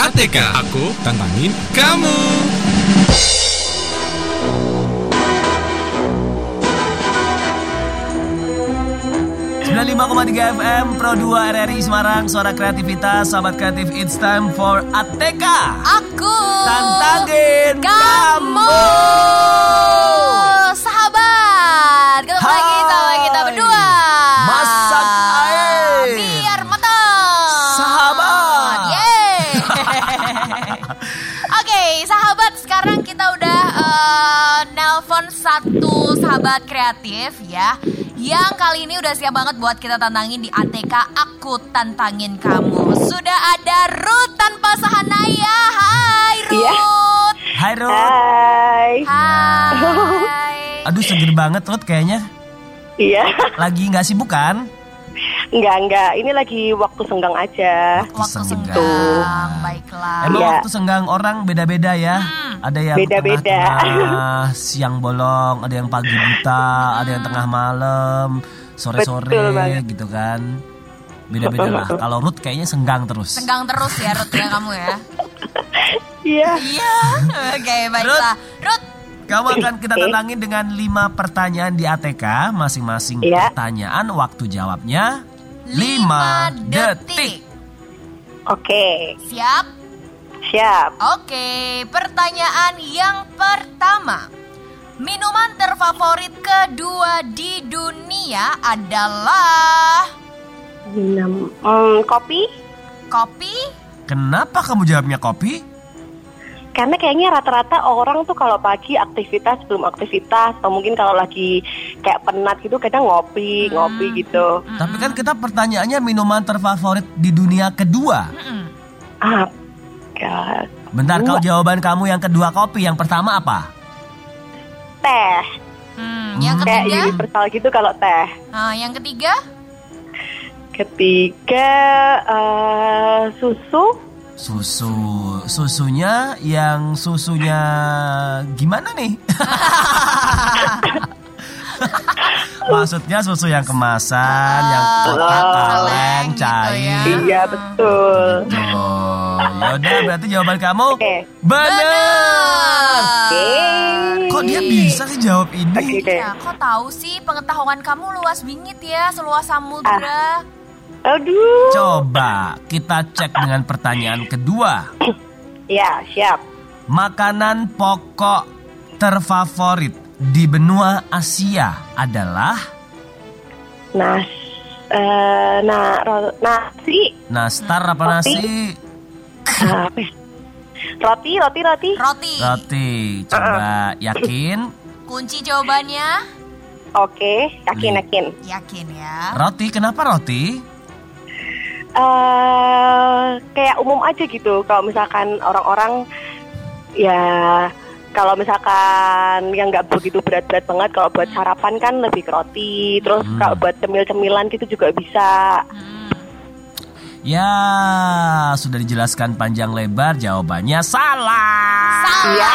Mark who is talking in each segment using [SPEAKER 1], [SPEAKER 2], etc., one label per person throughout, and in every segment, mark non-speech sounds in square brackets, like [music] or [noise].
[SPEAKER 1] ATK. Aku
[SPEAKER 2] Tantangin
[SPEAKER 1] kamu.
[SPEAKER 3] FM Pro 2 RRI Semarang Suara kreativitas Sahabat kreatif It's time for ATK
[SPEAKER 4] Aku
[SPEAKER 3] Tantangin
[SPEAKER 4] kamu Oh, Sahabat Ketemu
[SPEAKER 3] Hai.
[SPEAKER 4] lagi sama kita berdua
[SPEAKER 3] Masak air.
[SPEAKER 4] Biar matang
[SPEAKER 3] Sahabat. [laughs]
[SPEAKER 4] Yeay Oke sahabat sekarang kita udah eh, Nelpon satu sahabat kreatif ya Yang kali ini udah siap banget buat kita tantangin di ATK Aku Tantangin Kamu Sudah ada Ruth tanpa sahanaya Hai Ruth
[SPEAKER 5] Iya.
[SPEAKER 3] Hai Ruth
[SPEAKER 5] Hai.
[SPEAKER 4] Hai.
[SPEAKER 3] Aduh seger banget Ruth kayaknya
[SPEAKER 5] Iya, [laughs]
[SPEAKER 3] Lagi nggak sibuk kan?
[SPEAKER 5] enggak enggak. Ini lagi waktu senggang aja.
[SPEAKER 4] Waktu
[SPEAKER 3] Senggang.
[SPEAKER 4] senggang, baiklah.
[SPEAKER 3] Emang
[SPEAKER 5] Iya. Hmm.
[SPEAKER 3] waktu senggang orang beda-beda ya Ada yang
[SPEAKER 5] Beda-beda.
[SPEAKER 3] tengah-tengah siang bolong Ada yang pagi buta Ada yang tengah malam
[SPEAKER 5] Betul
[SPEAKER 3] Sore-sore
[SPEAKER 5] banget.
[SPEAKER 3] gitu kan Beda-beda lah Kalau Ruth kayaknya senggang terus
[SPEAKER 4] Senggang terus ya Ruth ya kamu ya.
[SPEAKER 5] Iya.
[SPEAKER 4] Iya. Oke, baiklah. Ruth,
[SPEAKER 3] Kamu akan kita tantangin dengan 5 pertanyaan di ATK. Masing-masing
[SPEAKER 5] Iya.
[SPEAKER 3] pertanyaan waktu jawabnya 5
[SPEAKER 4] lima
[SPEAKER 3] detik.
[SPEAKER 5] Oke,
[SPEAKER 4] Siap?
[SPEAKER 5] siap.
[SPEAKER 4] Oke, pertanyaan yang pertama. Minuman terfavorit kedua di dunia adalah
[SPEAKER 5] Minum hmm, kopi
[SPEAKER 4] kopi.
[SPEAKER 3] Kenapa kamu jawabnya kopi?
[SPEAKER 5] karena kayaknya rata-rata orang tuh kalau pagi aktivitas belum aktivitas atau mungkin kalau lagi kayak penat gitu kadang ngopi, ngopi gitu.
[SPEAKER 3] Tapi kan kita pertanyaannya minuman terfavorit di dunia kedua.
[SPEAKER 4] Mm-mm.
[SPEAKER 5] Ah. God.
[SPEAKER 3] Bentar, kalau jawaban kamu yang kedua kopi, yang pertama apa?
[SPEAKER 5] Teh.
[SPEAKER 4] Hmm, yang
[SPEAKER 5] Kayak
[SPEAKER 4] ketiga?
[SPEAKER 5] universal gitu kalau teh.
[SPEAKER 4] Ah, yang ketiga?
[SPEAKER 5] Ketiga eh, susu.
[SPEAKER 3] Susu. Susunya yang susunya gimana
[SPEAKER 5] [laughs]
[SPEAKER 3] nih? Maksudnya susu yang kemasan, yang kotak,
[SPEAKER 5] Oh.
[SPEAKER 3] kaleng,
[SPEAKER 4] Kaleng gitu
[SPEAKER 3] cair.
[SPEAKER 4] ya.
[SPEAKER 5] Iya, betul.
[SPEAKER 3] Oh, yaudah berarti jawaban kamu
[SPEAKER 5] Oke.
[SPEAKER 3] benar.
[SPEAKER 4] Ah.
[SPEAKER 5] Yeay.
[SPEAKER 3] Kok dia bisa sih jawab ini?
[SPEAKER 5] Oke.
[SPEAKER 4] Ya, kok tahu sih pengetahuan kamu luas bingit ya, seluas
[SPEAKER 5] Ah.
[SPEAKER 4] samudra.
[SPEAKER 5] Aduh.
[SPEAKER 3] Coba kita cek dengan pertanyaan kedua.
[SPEAKER 5] Ya, siap.
[SPEAKER 3] Makanan pokok terfavorit di benua Asia adalah
[SPEAKER 5] Nas, eh, na, ro- nasi,
[SPEAKER 3] nastar apa nasi?
[SPEAKER 5] apa? ya? Roti, roti, roti.
[SPEAKER 4] Roti.
[SPEAKER 3] Roti. Coba yakin?
[SPEAKER 4] Kunci jawabannya
[SPEAKER 5] Oke, yakin, yakin.
[SPEAKER 4] yakin ya.
[SPEAKER 3] Roti kenapa roti?
[SPEAKER 5] eh kayak umum aja gitu. Kalau misalkan orang-orang, ya kalau misalkan yang nggak begitu berat-berat banget, kalau buat sarapan kan lebih ke roti. Terus
[SPEAKER 3] Hmm.
[SPEAKER 5] kalau buat cemil-cemilan gitu juga bisa.
[SPEAKER 4] Hmm.
[SPEAKER 3] Ya, sudah dijelaskan panjang lebar jawabannya salah.
[SPEAKER 4] Salah.
[SPEAKER 5] Iya.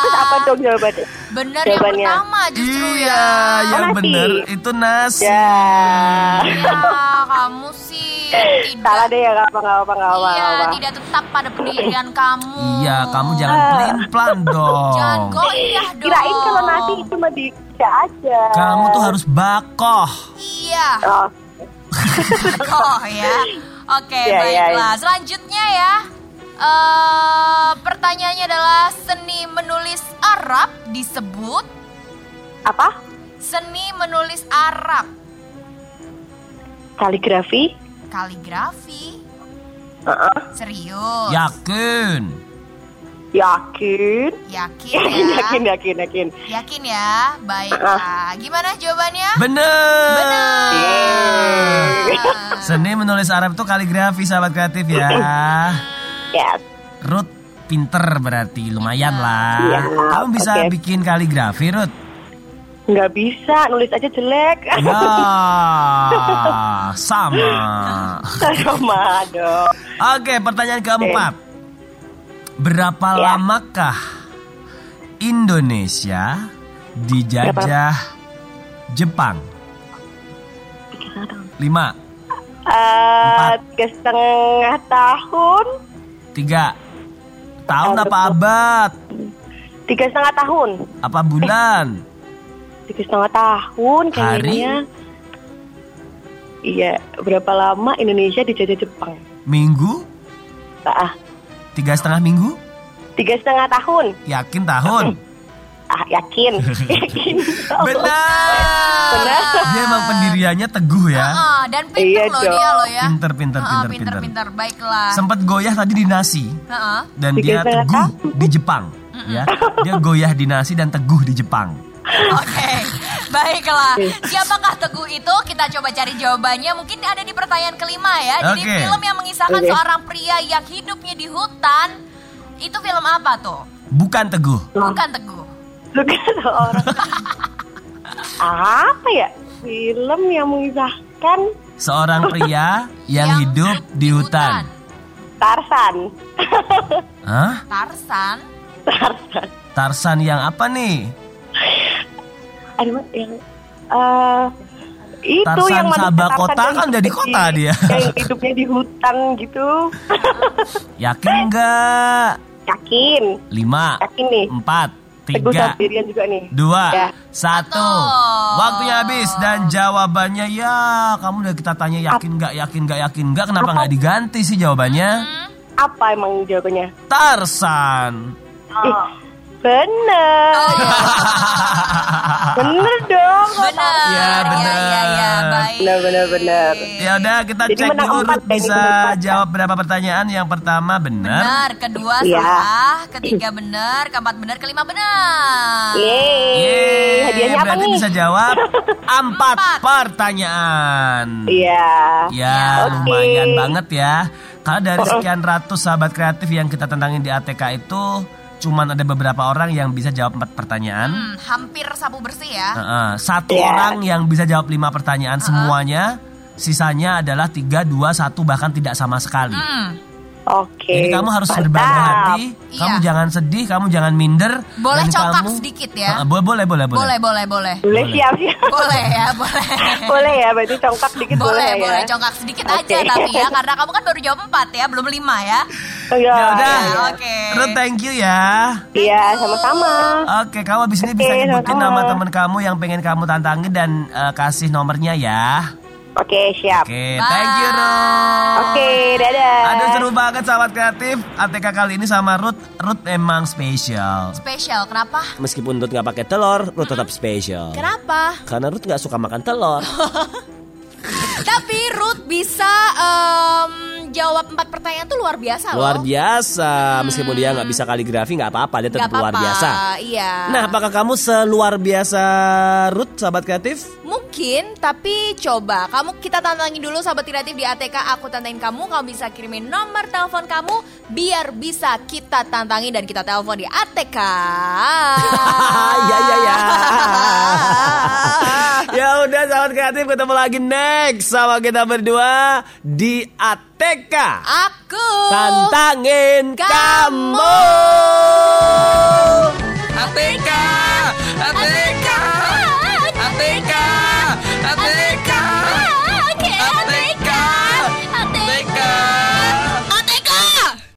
[SPEAKER 5] Terus apa dong jawabannya?
[SPEAKER 4] Bener
[SPEAKER 5] Jawabannya.
[SPEAKER 4] yang pertama justru
[SPEAKER 3] Iya,
[SPEAKER 4] ya.
[SPEAKER 3] yang
[SPEAKER 5] nasi.
[SPEAKER 3] bener itu nasi.
[SPEAKER 5] Ya,
[SPEAKER 4] Iya, kamu sih tidak
[SPEAKER 5] salah deh ya, nggak apa-apa, nggak apa-apa, nggak
[SPEAKER 4] Iya,
[SPEAKER 5] apa-apa.
[SPEAKER 4] tidak tetap pada pendirian kamu.
[SPEAKER 3] Iya, kamu jangan pelin-pelan dong.
[SPEAKER 4] Ah. Jangan goyah iya dong.
[SPEAKER 5] Kirain kalau nasi cuma di Indonesia aja.
[SPEAKER 3] Kamu tuh harus bakoh.
[SPEAKER 4] Iya.
[SPEAKER 5] Oh, [laughs]
[SPEAKER 4] Oh ya. Oke,
[SPEAKER 5] Ya, ya,
[SPEAKER 4] baiklah. Selanjutnya ya. eh pertanyaannya adalah seni menulis Arab disebut
[SPEAKER 5] apa?
[SPEAKER 4] seni menulis Arab,
[SPEAKER 5] Kaligrafi?
[SPEAKER 4] kaligrafi.
[SPEAKER 5] Heeh.
[SPEAKER 4] Serius?
[SPEAKER 3] Ya. Yakin.
[SPEAKER 5] Yakin?
[SPEAKER 4] Yakin
[SPEAKER 5] [laughs] Yakin,
[SPEAKER 4] ya?
[SPEAKER 5] yakin, yakin, yakin.
[SPEAKER 4] Yakin ya? Baiklah. Gimana jawabannya?
[SPEAKER 3] Bener.
[SPEAKER 4] Benar.
[SPEAKER 3] Seni menulis Arab itu kaligrafi sahabat kreatif ya.
[SPEAKER 5] Yes.
[SPEAKER 3] Ruth pinter berarti lumayan lah.
[SPEAKER 5] Iya,
[SPEAKER 3] Kamu bisa
[SPEAKER 5] oke.
[SPEAKER 3] bikin kaligrafi
[SPEAKER 5] [laughs]
[SPEAKER 3] Ruth.
[SPEAKER 5] Nggak bisa, nulis aja jelek. [laughs]
[SPEAKER 3] Ya, sama.
[SPEAKER 5] Sama dong.
[SPEAKER 3] Oke, pertanyaan keempat. Berapa
[SPEAKER 5] Ya.
[SPEAKER 3] lamakah Indonesia dijajah Jepang? Lima,
[SPEAKER 5] Eh, tiga setengah tahun.
[SPEAKER 3] Tiga. Tahun apa abad?
[SPEAKER 5] Tiga setengah tahun.
[SPEAKER 3] Apa bulan?
[SPEAKER 5] Tiga setengah tahun
[SPEAKER 3] Hari?
[SPEAKER 5] kayaknya. Iya, berapa lama Indonesia dijajah Jepang?
[SPEAKER 3] Minggu?
[SPEAKER 5] Ah,
[SPEAKER 3] Tiga setengah minggu?
[SPEAKER 5] tiga setengah tahun.
[SPEAKER 3] Yakin tahun?
[SPEAKER 5] Ah, yakin. [laughs] yakin.
[SPEAKER 3] Benar.
[SPEAKER 5] Benar.
[SPEAKER 3] Dia emang pendiriannya teguh ya.
[SPEAKER 4] Ah, dan pinter
[SPEAKER 5] Iya
[SPEAKER 4] loh
[SPEAKER 5] dong.
[SPEAKER 4] dia loh ya.
[SPEAKER 3] Pinter, pinter,
[SPEAKER 4] Ah,
[SPEAKER 3] pinter,
[SPEAKER 4] pinter,
[SPEAKER 3] pinter.
[SPEAKER 4] pinter. Baiklah.
[SPEAKER 3] Sempat goyah tadi di nasi
[SPEAKER 4] Heeh.
[SPEAKER 3] dan dia
[SPEAKER 5] Tiga
[SPEAKER 3] teguh
[SPEAKER 5] setengah
[SPEAKER 3] di Jepang. Ya, dia goyah di nasi dan teguh di Jepang.
[SPEAKER 4] Oke, baiklah. Siapakah Teguh itu? Kita coba cari jawabannya. Mungkin ada di pertanyaan kelima ya. Jadi
[SPEAKER 3] Oke.
[SPEAKER 4] film yang mengisahkan
[SPEAKER 5] Oke.
[SPEAKER 4] seorang pria yang hidupnya di hutan, itu film apa tuh?
[SPEAKER 3] Bukan teguh.
[SPEAKER 4] Bukan Teguh.
[SPEAKER 5] Bukan orang. Apa ya? Film yang mengisahkan
[SPEAKER 3] Seorang
[SPEAKER 4] [laughs]
[SPEAKER 3] pria yang,
[SPEAKER 4] Yang
[SPEAKER 3] hidup di hutan.
[SPEAKER 5] Tarsan.
[SPEAKER 3] Hah?
[SPEAKER 4] Tarsan.
[SPEAKER 5] Tarsan.
[SPEAKER 3] Tarsan yang apa nih?
[SPEAKER 5] Aduh, Mas, yang eh itu
[SPEAKER 3] Tarsan
[SPEAKER 5] yang manusia
[SPEAKER 3] Sabah
[SPEAKER 5] Tarsan
[SPEAKER 3] Kota
[SPEAKER 5] yang
[SPEAKER 3] kan
[SPEAKER 5] hidup
[SPEAKER 3] dari
[SPEAKER 5] di-
[SPEAKER 3] kota dia.
[SPEAKER 5] Yang hidupnya di hutan
[SPEAKER 3] [laughs]
[SPEAKER 5] gitu. [laughs]
[SPEAKER 3] Yakin enggak?
[SPEAKER 5] Yakin.
[SPEAKER 3] Lima,
[SPEAKER 5] Yakin nih.
[SPEAKER 3] empat,
[SPEAKER 5] Teguh
[SPEAKER 3] Hmm, tiga,
[SPEAKER 5] sendirian juga nih. Ya.
[SPEAKER 3] dua, satu.
[SPEAKER 4] Satu.
[SPEAKER 3] Waktunya habis dan jawabannya ya kamu udah kita tanya yakin nggak yakin nggak yakin nggak kenapa nggak diganti sih jawabannya?
[SPEAKER 4] Hmm.
[SPEAKER 5] Apa emang jawabannya?
[SPEAKER 3] Tarsan.
[SPEAKER 5] Ih, bener. [laughs] bener dong.
[SPEAKER 4] Benar.
[SPEAKER 3] Iya,
[SPEAKER 4] Iya, iya, iya.
[SPEAKER 3] benar.
[SPEAKER 4] Baik.
[SPEAKER 5] Benar, benar, benar.
[SPEAKER 3] Ya udah kita
[SPEAKER 5] Jadi
[SPEAKER 3] cek
[SPEAKER 5] menang
[SPEAKER 3] dulu
[SPEAKER 5] empat,
[SPEAKER 3] Ruth
[SPEAKER 5] Penny menang
[SPEAKER 3] bisa
[SPEAKER 5] empat.
[SPEAKER 3] jawab berapa pertanyaan. Yang pertama benar.
[SPEAKER 4] Benar, kedua
[SPEAKER 5] Iya.
[SPEAKER 4] salah, ketiga benar, keempat benar, kelima benar.
[SPEAKER 5] Iya. Yeay. Hadiahnya apa
[SPEAKER 3] berarti
[SPEAKER 5] nih?
[SPEAKER 3] bisa jawab empat
[SPEAKER 4] Empat.
[SPEAKER 3] pertanyaan.
[SPEAKER 5] Iya.
[SPEAKER 3] Ya,
[SPEAKER 5] Oke.
[SPEAKER 3] lumayan banget ya. Karena
[SPEAKER 5] Oh,
[SPEAKER 3] dari sekian ratus sahabat kreatif yang kita tentangin di ATK itu, cuman ada beberapa orang yang bisa jawab empat pertanyaan.
[SPEAKER 4] Hmm, hampir sapu bersih ya.
[SPEAKER 3] Heeh, satu
[SPEAKER 5] Iya.
[SPEAKER 3] orang yang bisa jawab lima pertanyaan semuanya, sisanya adalah tiga, dua, satu bahkan tidak sama sekali.
[SPEAKER 4] Hmm.
[SPEAKER 5] Oke.
[SPEAKER 3] Jadi kamu harus
[SPEAKER 5] mantap.
[SPEAKER 3] berbangga hati,
[SPEAKER 4] Iya.
[SPEAKER 3] kamu jangan sedih, kamu jangan minder.
[SPEAKER 4] Boleh
[SPEAKER 3] dan
[SPEAKER 4] congkak
[SPEAKER 3] kamu-
[SPEAKER 4] sedikit ya?
[SPEAKER 3] Heeh, boleh, boleh, boleh, boleh.
[SPEAKER 4] Boleh, boleh, boleh.
[SPEAKER 5] Boleh siap siap.
[SPEAKER 4] Boleh ya, boleh.
[SPEAKER 5] [laughs] boleh ya, berarti congkak dikit boleh,
[SPEAKER 4] boleh,
[SPEAKER 5] ya.
[SPEAKER 4] boleh. Congkak sedikit aja
[SPEAKER 5] Oke.
[SPEAKER 4] tapi
[SPEAKER 1] [laughs]
[SPEAKER 4] ya. Karena kamu kan baru jawab empat ya, belum lima ya.
[SPEAKER 5] Iya.
[SPEAKER 3] Ya udah,
[SPEAKER 4] Iya, oke.
[SPEAKER 3] Ruth, thank you ya.
[SPEAKER 5] Iya, sama-sama.
[SPEAKER 3] Oke, kamu abis ini
[SPEAKER 5] Oke,
[SPEAKER 3] bisa nyebutin
[SPEAKER 5] sama-sama.
[SPEAKER 3] nama teman kamu yang pengen kamu tantangin dan eh, kasih nomornya ya.
[SPEAKER 5] Oke, siap.
[SPEAKER 3] Oke, thank you
[SPEAKER 4] Eh,
[SPEAKER 3] Ruth.
[SPEAKER 5] Oke, dadah.
[SPEAKER 3] Aduh seru banget sahabat kreatif. ATK kali ini sama Ruth. Ruth emang spesial.
[SPEAKER 4] Spesial, kenapa?
[SPEAKER 3] Meskipun Ruth nggak pakai telur, Ruth tetap spesial.
[SPEAKER 4] Hmm. Kenapa?
[SPEAKER 3] Karena Ruth nggak suka makan
[SPEAKER 4] [laughs]
[SPEAKER 3] telur.
[SPEAKER 4] Tapi Ruth bisa em, jawab empat pertanyaan tuh luar biasa
[SPEAKER 1] Luar
[SPEAKER 4] loh.
[SPEAKER 1] biasa, meskipun dia nggak bisa kaligrafi nggak apa-apa, dia
[SPEAKER 4] Gak
[SPEAKER 1] tetap luar
[SPEAKER 4] Hmm. apa-apa,
[SPEAKER 1] biasa.
[SPEAKER 4] Iya.
[SPEAKER 1] Nah, apakah kamu seluar biasa Ruth, sahabat kreatif?
[SPEAKER 4] Mungkin, tapi coba kamu kita tantangin dulu sahabat kreatif di ATK. Aku tantangin kamu, kamu bisa kirimin nomor telepon kamu biar bisa kita tantangin dan kita telepon di ATK.
[SPEAKER 1] [laughs]
[SPEAKER 4] Ah.
[SPEAKER 1] Ya, ya,
[SPEAKER 4] [laughs]
[SPEAKER 1] ya. ya udah, sahabat kreatif ketemu lagi next sama kita berdua di ATK.
[SPEAKER 4] Aku
[SPEAKER 1] Tantangin
[SPEAKER 4] Kamu.
[SPEAKER 1] kamu.